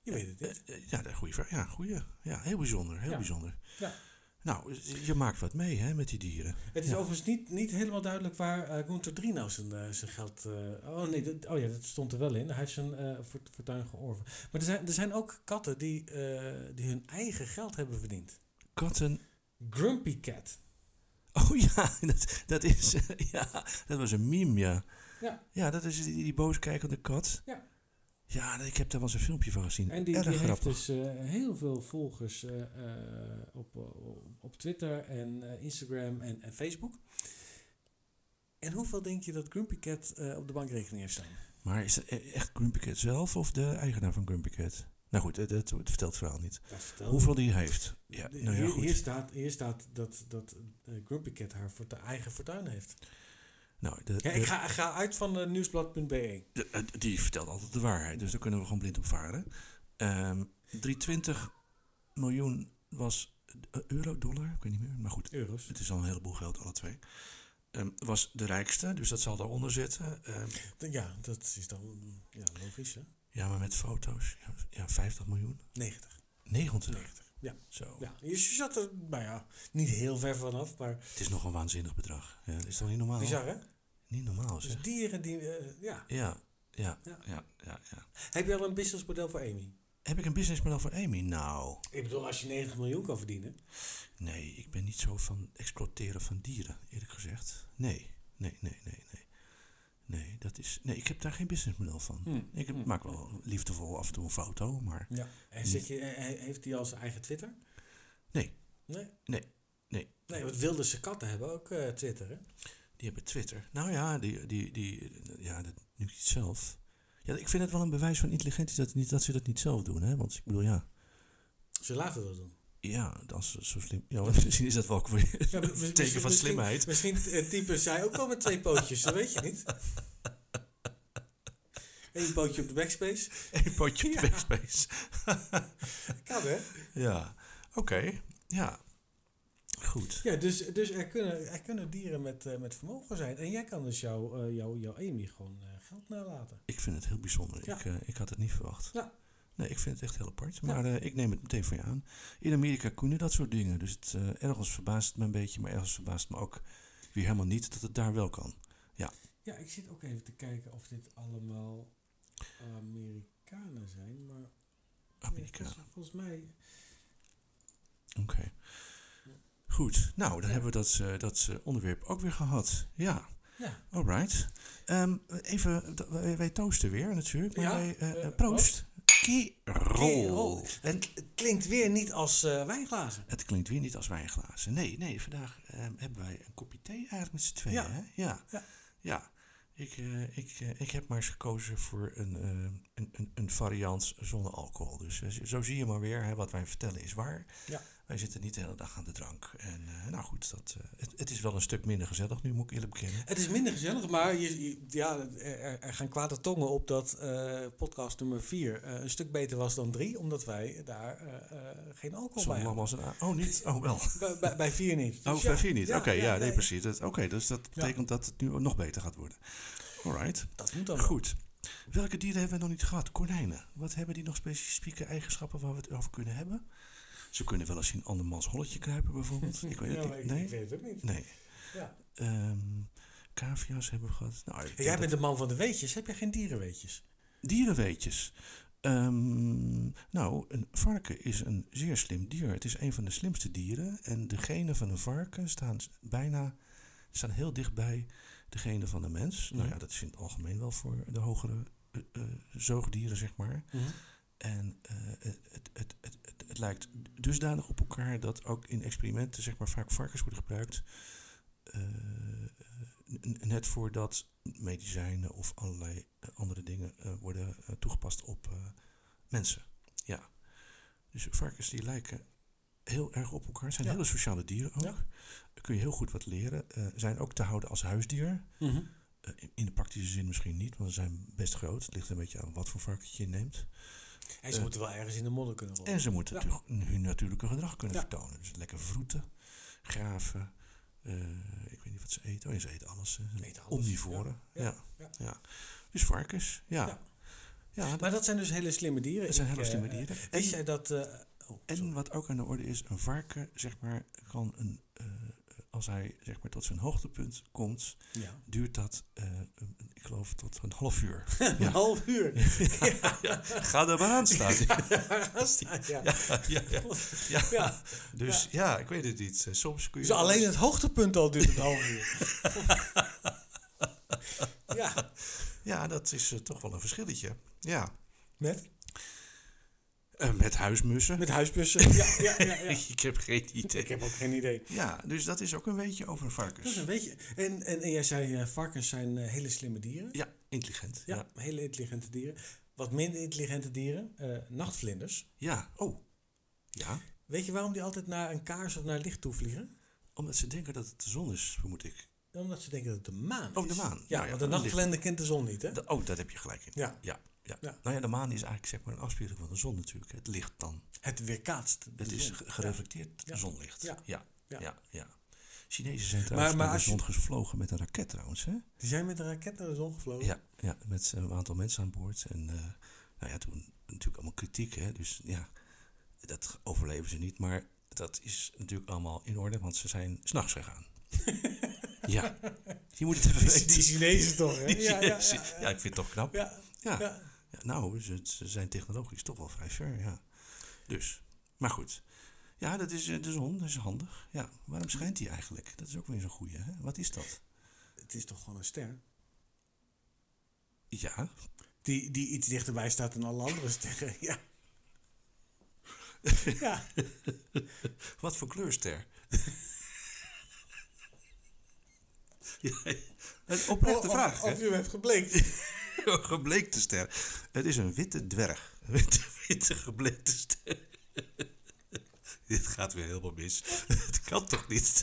Je weet het niet. Eh, eh, ja, een goede vraag. Ja, goeie. ja, heel bijzonder, heel Ja. bijzonder. Ja. Nou, eh, je maakt wat mee hè, met die dieren. Het is ja. overigens niet, niet helemaal duidelijk waar eh Gunther 3 nou zijn, eh, zijn geld... eh, oh nee, dat, oh ja, dat stond er wel in. Hij heeft zijn eh, fort- fortuin georven. Maar er zijn, er zijn ook katten die, eh, die hun eigen geld hebben verdiend. Katten... Grumpy Cat. Oh ja, dat, dat is... ja, dat was een meme, ja. Ja. Ja, dat is die, die booskijkende kat. Ja. Ja, ik heb daar wel eens een filmpje van gezien. En die, Erg die heeft grappig. dus eh, heel veel volgers eh, eh, op, op, op Twitter en eh, Instagram en, en Facebook. En hoeveel denk je dat Grumpy Cat eh, op de bankrekening heeft staan? Maar is dat e- echt Grumpy Cat zelf of de eigenaar van Grumpy Cat? Nou goed, eh, dat, dat vertelt het verhaal niet. Hoeveel die heeft? Ja, nou ja, Oh. hier, hier goed. staat, hier staat dat, dat eh, Grumpy Cat haar voor de eigen fortuin heeft. Nou, de, Ja, ik ga, ga uit van eh, nieuwsblad.be. de- eh, die vertelt altijd de waarheid, dus daar kunnen we gewoon blind op varen. Ehm 320 miljoen was eh, euro, dollar, ik weet niet meer, maar goed. Euro's. Het is al een heleboel geld, alle twee. Ehm, was de rijkste, dus dat zal daaronder zitten. Ehm, Ja, dat is dan mm, ja, logisch, hè? ja, maar met foto's. Ja, ja, 50 miljoen. 90. 90. 90. Ja. Zo. Ja, je zat er, nou ja, niet heel ver vanaf, maar Het is nog een waanzinnig bedrag. Ja, dat is toch niet normaal? bizar, hè? Niet normaal, zeg. Dus dieren die, eh, ja. Ja, ja, Ja. ja, ja, ja, Heb je al een businessmodel voor Amy? Heb ik een businessmodel voor Amy? Nou, Ik bedoel, als je 90 miljoen kan verdienen. nee, ik ben niet zo van exploiteren van dieren, eerlijk gezegd. Nee, nee, nee, nee, nee. Nee, dat is, nee ik heb daar geen businessmodel van. Hmm, Ik heb- hmm. maak wel liefdevol af en toe een foto, maar Ja. En zit je, eh, eh, heeft hij al zijn eigen Twitter? Nee. Nee? Nee, nee. Nee, want wilde ze katten hebben ook eh, Twitter, hè? die hebben Twitter. Nou ja, die, die, die, ja dat nu niet zelf. Ja, ik vind het wel een bewijs van intelligentie dat, niet, dat ze dat niet zelf doen, hè? Want ik bedoel, ja, Ze laten dat doen. ja, als ze zo slim. Ja, want misschien is dat wel ook weer Ja, maar een misschien- teken van slimheid. Misschien eh, typen zij ook wel met twee pootjes, dat weet je niet. Eén pootje op de backspace. Een potje op de backspace. Kan, hè? Ja, oké. Ja, goed. Ja, dus, dus er, kunnen, er kunnen dieren met, eh, met vermogen zijn. En jij kan dus jouw eh, jouw jouw Amy gewoon eh, geld nalaten. Ik vind het heel bijzonder. Ja. Ik, eh, ik had het niet verwacht. Ja. Nee, ik vind het echt heel apart. Maar eh, ik neem het meteen voor je aan. In Amerika kunnen dat soort dingen. Dus het, eh, ergens verbaast het me een beetje, maar ergens verbaast het me ook weer helemaal niet dat het daar wel kan. Ja, ik zit ook even te kijken of dit allemaal Amerikanen zijn. Maar nee, Amerika. volgens, volgens mij... Oké. Goed. Nou, dan Ja. hebben we dat, eh, dat eh, onderwerp ook weer gehad. Ja. Ja, Alright. Ehm, even, d- wij, wij toosten weer natuurlijk. Maar Ja, wij, eh, eh, proost. Kirol. Kerel. En Het het klinkt weer niet als eh, wijnglazen. het klinkt weer niet als wijnglazen. Nee, nee, vandaag ehm, hebben wij een kopje thee eigenlijk met z'n tweeën. Ja. Hè? ja. Ja. Ja. Ik, eh, ik, eh, ik heb maar eens gekozen voor een, eh, een, een, een variant zonder alcohol. Dus eh, zo zie je maar weer, hè, wat wij vertellen is waar. Ja. Wij zitten niet de hele dag aan de drank. En eh, nou goed, dat, eh, het, het is wel een stuk minder gezellig nu, moet ik eerlijk bekennen. Het is minder gezellig, maar je, je- ja, er, er gaan kwade tongen op dat eh, podcast nummer 4 een stuk beter was dan 3. Omdat wij daar eh, eh, geen alcohol Zo bij lam hadden. als een a- Oh, niet? Oh, wel. Bij- Bij, bij 4 niet. Dus Oh, ja, bij vier niet. ja, Oké, ja, nee, nee. precies. Dat- Oké, dus dat betekent dat het nu nog beter gaat worden. Alright. Dat moet dan wel. Goed. Welke dieren hebben we nog niet gehad? Konijnen. Wat hebben die nog specifieke eigenschappen waar we het over kunnen hebben? Ze kunnen wel eens in andermans holletje kruipen, bijvoorbeeld. ik weet Ja, het maar niet. ik, ik Nee. weet het ook niet. Nee. Ja. Ehm cavia's hebben we gehad. Nou, ik Hey, denk Jij dat- bent de man van de weetjes. Heb jij geen dierenweetjes? Dierenweetjes. Ehm, nou, een varken is een zeer slim dier. Het is een van de slimste dieren. En de genen van een varken staan s- bijna staan heel dichtbij de genen van een mens. Nou Mhm. ja, dat is in het algemeen wel voor de hogere eh, eh, zoogdieren, zeg maar. En eh, het, het, het, het, het, het lijkt dusdanig op elkaar dat ook in experimenten zeg maar, vaak varkens worden gebruikt. eh, n- net voordat medicijnen of allerlei eh, andere dingen eh, worden eh, toegepast op eh, mensen. Ja. Dus varkens die lijken heel erg op elkaar. Zijn Ja. hele sociale dieren ook. Ja. Daar kun je heel goed wat leren. Eh, zijn ook te houden als huisdier. Mhm. Eh, in- in de praktische zin misschien niet, want ze zijn best groot. Het ligt een beetje aan wat voor varkentje je neemt. En ze Eh. moeten wel ergens in de modder kunnen rollen. En ze moeten Ja. natuurlijk hun natuurlijke gedrag kunnen Ja. vertonen. Dus lekker vroeten, graven. eh, ik weet niet wat ze eten. Oh, ja, ze eten alles. eh, Ze eten alles, Omnivoren. ja, Ja. ja, Ja. ja. Dus varkens. Ja. Ja. ja. dat Maar dat zijn dus hele slimme dieren. dat zijn Ik, hele eh, slimme eh, dieren. En, Wist jij dat... eh, oh, en sorry. wat ook aan de orde is, een varken, zeg maar, kan een, eh, als hij zeg maar, tot zijn hoogtepunt komt, Ja. duurt dat, eh, een- ik geloof, tot een half uur. Een half uur. Ga er maar aan staan. ja. ja, ja, ja. Ja. Dus ja, ik weet het niet. Soms kun je... Dus alleen het hoogtepunt al duurt een half uur. ja, Ja, dat is eh, toch wel een verschilletje. Ja. met, Eh, met huismussen? met huisbussen. Ja, ja, ja, ja. ik heb geen Ik idee. heb ook geen idee. Ja, dus dat is ook een beetje over varkens. Dat is een beetje... En, en, en jij zei, eh, varkens zijn eh, hele slimme dieren. Ja, intelligent. Ja, Ja. hele intelligente dieren. Wat minder intelligente dieren, eh, nachtvlinders. ja. Oh. Ja. Weet je waarom die altijd naar een kaars of naar licht toe vliegen? Omdat ze denken dat het de zon is, vermoed ik. Omdat ze denken dat het de maan is. Oh, de maan. Ja, Nou ja, want de dan ligt- nachtkalender kent de zon niet, hè? Da- oh, daar heb je gelijk in. Ja. Ja, ja. Ja. Nou ja, de maan is eigenlijk zeg maar een afspiegeling van de zon natuurlijk. Het licht dan. Het weerkaatst. de Het is zon. ge- gereflecteerd Ja. zonlicht. Ja. Ja. Ja. Ja. Ja. Chinezen zijn trouwens maar naar de als je- zon gevlogen met een raket trouwens. Hè? Die zijn met een raket naar de zon gevlogen. Ja, ja, met eh, een aantal mensen aan boord. En eh, nou ja, toen natuurlijk allemaal kritiek. Hè? Dus ja, dat overleven ze niet. Maar dat is natuurlijk allemaal in orde, want ze zijn s'nachts gegaan. ja, je moet het even Die, die weten. Chinezen toch, hè? Die Ja, ja, Chinezen- ja, Ja, ik vind het toch knap. ja. Ja. ja. Ja, nou, ze, ze zijn technologisch toch wel vrij ver, ja. Dus, maar goed. Ja, dat is eh, de zon, dat is handig. Ja, waarom schijnt die eigenlijk? Dat is ook weer zo'n goeie, hè? Wat is dat? Het is toch gewoon een ster? Ja, Die, die iets dichterbij staat dan alle andere sterren. Ja. ja. wat voor kleurster? ja, een Of- oprechte Oh, of- vraag, Of, hè? je hem hebt gebleekt. Een gebleekte ster. Het is een witte dwerg. Een witte, witte gebleekte ster. Dit gaat weer helemaal mis. Het kan toch niet?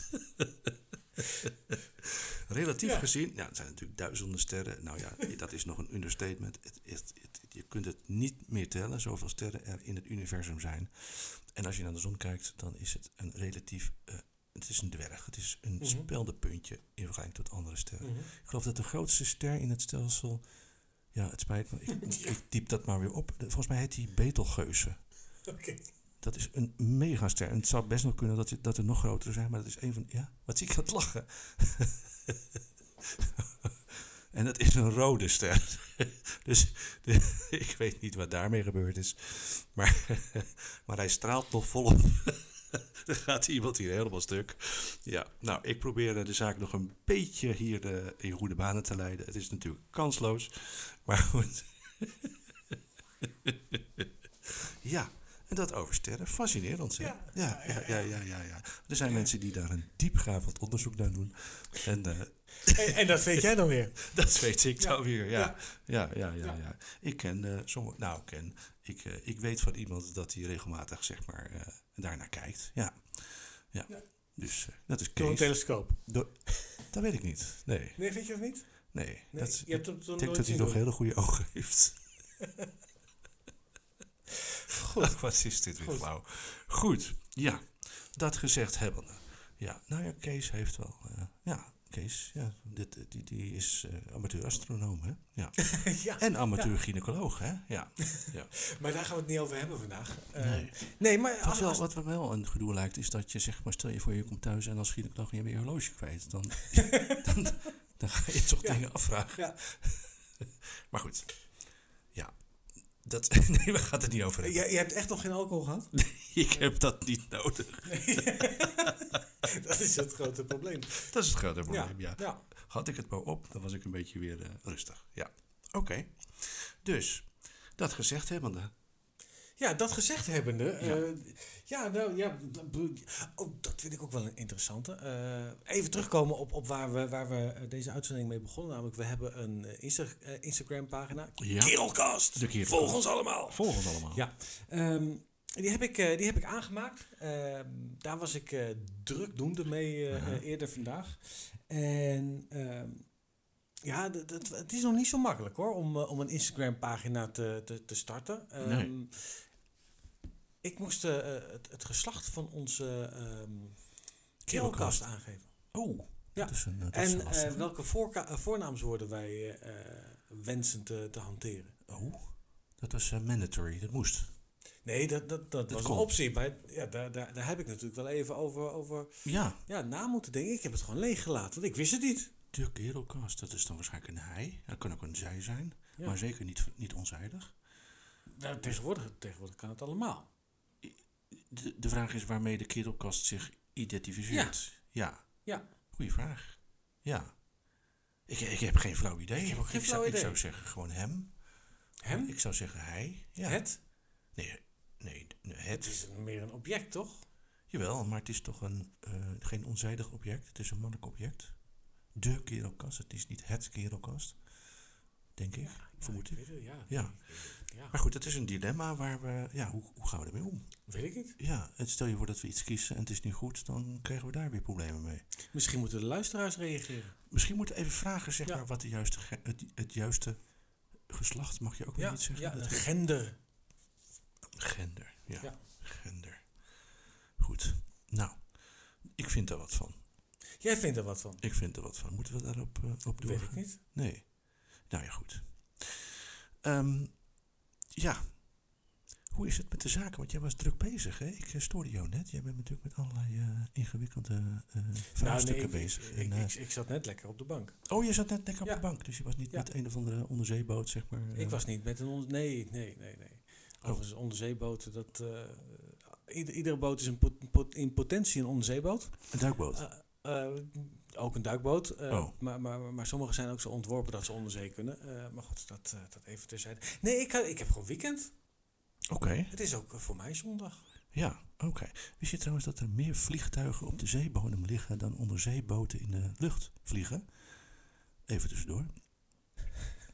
Relatief Ja. gezien, nou, het zijn natuurlijk duizenden sterren. Nou ja, dat is nog een understatement. Het, het, het- je kunt het niet meer tellen, zoveel sterren er in het universum zijn. En als je naar de zon kijkt, dan is het een relatief. eh, het is een dwerg. Het is een speldenpuntje in vergelijking tot andere sterren. Ik geloof dat de grootste ster in het stelsel. Ja, het spijt me. Ik, ik typ dat maar weer op. De- Volgens mij heet die Betelgeuze. Oké. Dat is een megaster. En het zou best nog kunnen dat, je- dat er nog grotere zijn, maar dat is een van. Ja, wat zie ik aan het lachen? en dat is een rode ster. dus de- ik weet niet wat daarmee gebeurd is. Maar, maar hij straalt nog volop. Dan gaat iemand hier helemaal stuk. Ja, nou, ik probeer eh, de zaak nog een beetje hier eh, in goede banen te leiden. Het is natuurlijk kansloos. Maar goed. ja, en dat over sterren. Fascinerend, hè? Ja, ja, ja, ja, ja, ja, ja. Er zijn mensen die daar een diepgravend onderzoek naar doen. En eh, En, en dat weet jij dan weer. dat weet ik Ja, nou weer, ja. ja. Ja, ja, ja, Ja. ja. Ik ken eh sommige... Nou, ik ken... Ik, eh, ik weet van iemand dat hij regelmatig, zeg maar, eh, daarnaar kijkt. Ja. Ja. Ja. Dus eh, dat is Door een Kees. telescoop. Door- dat weet ik niet. Nee, Nee, weet je of niet? nee. Nee, dat, je hebt hem toen ik denk nooit dat hij zien nog doen. hele goede ogen heeft. Goed. Wat is dit weer Goed. flauw. Goed, ja. Dat gezegd hebbende. Ja, nou ja, Kees heeft wel... eh, ja, Kees, ja, dit, die, die is eh, amateur-astronoom, hè? Ja. ja. En amateur-gynaecoloog, hè? Ja. ja. Maar daar gaan we het niet over hebben vandaag. Eh, Nee. nee, maar... Wat, als- wel, als- wat me wel een gedoe lijkt, is dat je zeg maar, stel je voor je komt thuis en als gynaecoloog en je bent je horloge kwijt, dan, dan, dan ga je toch Ja. dingen afvragen. Ja. Maar goed, ja, dat, nee, we gaan het niet over hebben. Jij, jij hebt echt nog geen alcohol gehad? Ik heb dat niet nodig. dat is het grote probleem. Dat is het grote Ja, nou, probleem, ja. ja. Had ik het maar op, dan was ik een beetje weer eh, rustig. Ja, oké. Dus, dat gezegd hebbende, Ja, dat gezegd hebbende. Ja, ja nou ja. dat bedoel ik- Oh, dat vind ik ook wel een interessante. Eh, even terugkomen op, op waar, we, waar we eh, deze uitzending mee begonnen. Namelijk, we hebben een eh, Insta eh, Instagram-pagina. Ja. Kerelkast. De Kerelkast. Volg ons allemaal. volg ons allemaal. Ja. ehm, die heb, ik, eh, die heb ik aangemaakt. Ehm, daar was ik eh, drukdoende mee eh, Aha. eh, eerder vandaag. En ehm, ja, dat, dat- het is nog niet zo makkelijk hoor, om, eh, om een Instagram pagina te, te, te starten. Ehm, Nee. Ik moest eh, het, het geslacht van onze ehm Kerelkast. keelkast aangeven. Oh, Ja. dat is een, dat is En een lastige. eh, welke voorka- eh, voornaamswoorden wij eh, eh, wensen te, te hanteren. oh, dat was eh, mandatory, dat moest. Nee, dat, dat, dat, was kon. een optie. Maar ja, daar, daar, daar heb ik natuurlijk wel even over, over Ja, ja, na moeten denken. Ik heb het gewoon leeggelaten, want ik wist het niet. De kerelkast, dat is dan waarschijnlijk een hij. Dat kan ook een zij zijn, Ja. maar zeker niet, niet onzijdig. Nou, tegenwoordig, tegenwoordig kan het allemaal. De, de vraag is waarmee de kerelkast zich identificeert. Ja. Ja. Goeie vraag. Ja. Ik, ik heb geen flauw idee. Ik, heb ook geen zou, flauw ik zou idee. zeggen gewoon hem. Hem? Ik zou zeggen hij. Ja. Het? Nee, nee, nee, Het het. is een- meer een object, toch? Jawel, maar het is toch een, eh, geen onzijdig object. Het is een mannelijk object. De kerelkast, het is niet het kerelkast. Denk ik. Ja, vermoed ik. weet het, ja. Ja. Ja. Maar goed, dat is een dilemma waar we. Ja, hoe, hoe gaan we ermee om? Weet ik niet. Ja, en stel je voor dat we iets kiezen en het is niet goed, dan krijgen we daar weer problemen mee. Misschien moeten de luisteraars reageren. Misschien moeten we even vragen, zeg Ja. maar, wat de juiste ge- het, het juiste geslacht mag je ook weer Ja, niet zeggen. ja Dat de ge- gender. Gender, ja. Ja. Gender. Goed. Nou, ik vind daar wat van. Jij vindt er wat van. Ik vind er wat van. Moeten we daarop eh, op Weet ik doorgaan? niet. Nee. Nou ja, goed. Ehm, ja. Hoe is het met de zaken? Want jij was druk bezig, hè? Ik eh, stoorde jou net. Jij bent natuurlijk met allerlei eh, ingewikkelde eh vraagstukken Nou, ik, bezig. Ik, En, ik, eh, ik, ik zat net lekker op de bank. oh, je zat net lekker op Ja. de bank. Dus je was niet Ja. met een of andere onderzeeboot, zeg maar. eh, Ik was niet met een onder... Nee, nee, nee, nee. Oh. Overigens, onderzeeboten, dat... eh, ieder- iedere boot is een pot- pot- in potentie een onderzeeboot. Een duikboot. Eh, eh, ook een duikboot. eh, Oh. maar, maar, maar sommige zijn ook zo ontworpen dat ze onderzee kunnen. Eh, maar goed, dat, eh, dat even terzijde. Nee, ik, ha- ik heb gewoon weekend. Oké. Het is ook eh, voor mij zondag. Ja, oké. Wist je trouwens dat er meer vliegtuigen op de zeebodem liggen dan onderzeeboten in de lucht vliegen? Even tussendoor.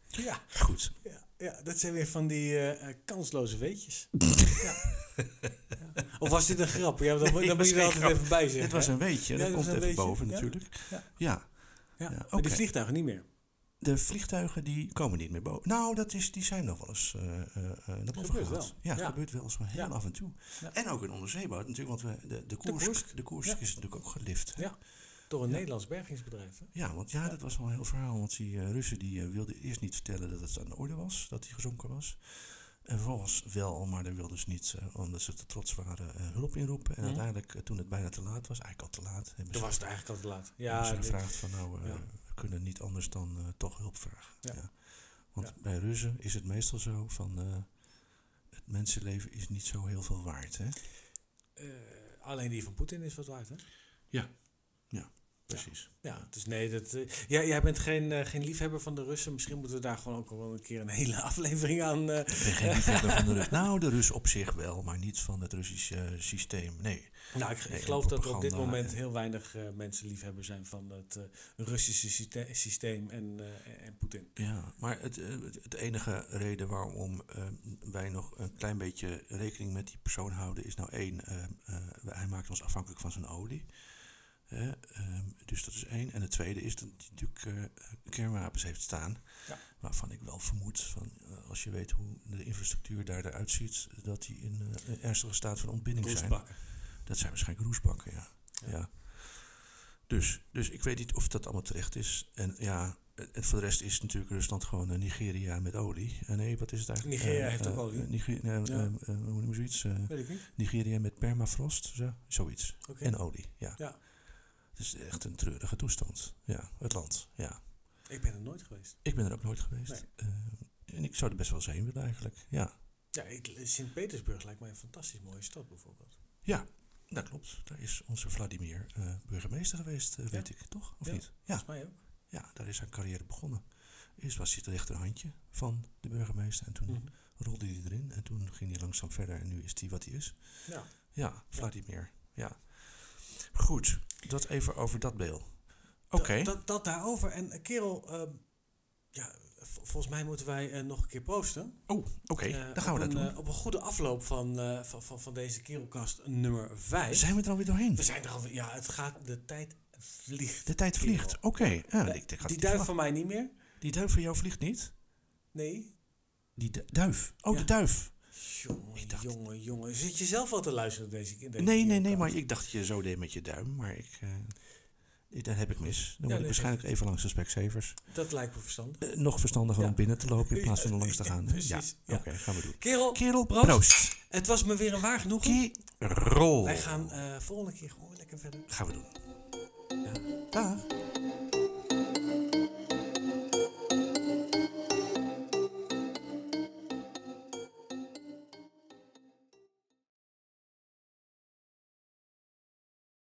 Ja, Goed. ja, ja dat zijn weer van die eh, eh, kansloze weetjes. ja. Ja. Of was dit een grap? Ja, dan, Nee, dan moet was je er geen altijd grap. even bij zeggen. Dit was hè? een weetje, Ja, dat dit was komt een even weetje, boven ja. natuurlijk. Ja. Ja, Ja, ja, maar oké. die vliegtuigen niet meer. de vliegtuigen die komen niet meer boven. Nou, dat is, die zijn nog wel eens eh, eh, eh, naar boven Gebeurt gehaald. wel, Ja, ja. gebeurt wel eens wel heel Ja. af en toe. Ja. En ook een onderzeeboot natuurlijk, want we, de, de koers, de koers, Koersk. Ja. is natuurlijk ook gelift. hè. Ja. Door een Ja. Nederlands bergingsbedrijf. hè? Ja, want ja, dat was wel een heel verhaal. Want die eh, Russen die eh, wilden eerst niet vertellen dat het aan de orde was, dat hij gezonken was. En vervolgens wel, maar daar wilden ze niet, eh, omdat ze te trots waren, eh, hulp inroepen. En Mhm. uiteindelijk, eh, toen het bijna te laat was, eigenlijk al te laat, hebben Toen ze, was het eigenlijk al te laat. hebben Ja, ze dit- gevraagd van nou, eh, ja. we kunnen niet anders dan eh, toch hulp vragen. Ja. Ja. Want Ja. bij Russen is het meestal zo van, eh, het mensenleven is niet zo heel veel waard. Hè? eh, alleen die van Poetin is wat waard, hè? Precies. Ja, dus nee, dat, eh, jij, jij bent geen, eh, geen liefhebber van de Russen. Misschien moeten we daar gewoon ook wel een keer een hele aflevering aan. eh, Ik ben geen liefhebber van de Rus. Nou, de Rus op zich wel, maar niet van het Russische eh, systeem. Nee. nou, ik, ik Nee, geloof dat er op dit propaganda, moment ja. heel weinig eh, mensen liefhebber zijn van het eh, Russische syste- systeem en, eh, en- en Poetin. Ja, maar het, eh, het het enige reden waarom eh, wij nog een klein beetje rekening met die persoon houden is nou één, eh, eh, we- hij maakt ons afhankelijk van zijn olie. Hè, ehm, dus dat is één. En het tweede is dat hij natuurlijk eh, kernwapens heeft staan. Ja. Waarvan ik wel vermoed, van, eh, als je weet hoe de infrastructuur daar eruit ziet, dat die in eh, een ernstige staat van ontbinding zijn. Roestbakken. Dat zijn waarschijnlijk roesbakken, ja. ja. Ja. Dus, dus ik weet niet of dat allemaal terecht is. En ja, en voor de rest is natuurlijk Rusland gewoon eh, Nigeria met olie. Eh, nee, wat is het eigenlijk? Nigeria Eh, heeft ook eh, olie. eh, Nigeria, eh, Ja. eh, eh, hoe noem je zoiets? Eh, Weet ik niet. Nigeria met permafrost, zo, zoiets. Oké. En olie, ja. Ja. Het is echt een treurige toestand, ja. Het land, ja. Ik ben er nooit geweest. Ik ben er ook nooit geweest. Nee. Eh, en ik zou er best wel eens heen willen eigenlijk, ja. Ja, ik- Sint-Petersburg lijkt mij een fantastisch mooie stad bijvoorbeeld. Dat klopt. Daar is onze Vladimir eh, burgemeester geweest, eh, weet ik, toch? Of Ja. niet? Ja. Volgens mij ook. Ja, daar is zijn carrière begonnen. Eerst was hij het rechterhandje van de burgemeester en toen Mhm. rolde hij erin en toen ging hij langzaam verder en nu is hij wat hij is. Ja. Ja, Vladimir. Ja. Goed, dat even over dat beeld. Oké. Dat, dat, dat daarover. En eh, kerel, ehm, ja, vol- volgens mij moeten wij eh, nog een keer posten. Oh, oké. Eh, dan gaan we op dat een, doen. eh, op een goede afloop van, eh, van, van, van deze kerelkast nummer 5. Zijn we er alweer doorheen? We zijn er al, eh, ja, het gaat, de tijd vliegt. De tijd vliegt. Oké. Ja, Eh, ik- die ik had niet duif verwacht. van mij niet meer? die duif van jou vliegt niet? Nee? Die du- duif. Oh, Ja. de duif. Jongen, Ik dacht- jongen, jongen. Zit je zelf al te luisteren op deze, in deze Nee, nee, nee, kerelkast? maar ik dacht dat je zo deed met je duim, maar ik... eh, ik- dan heb ik mis. Dan moet nee, ik waarschijnlijk even langs de specsavers. Dat lijkt me verstandig. Eh, nog verstandiger Ja. om binnen te lopen in plaats van er langs te gaan. Precies, Ja, ja. oké, gaan we doen. Kerel, Kerel, Proost. proost. het was me weer een waar genoegen. Kerel. Wij gaan eh volgende keer gewoon lekker verder. Gaan we doen. Ja. Dag.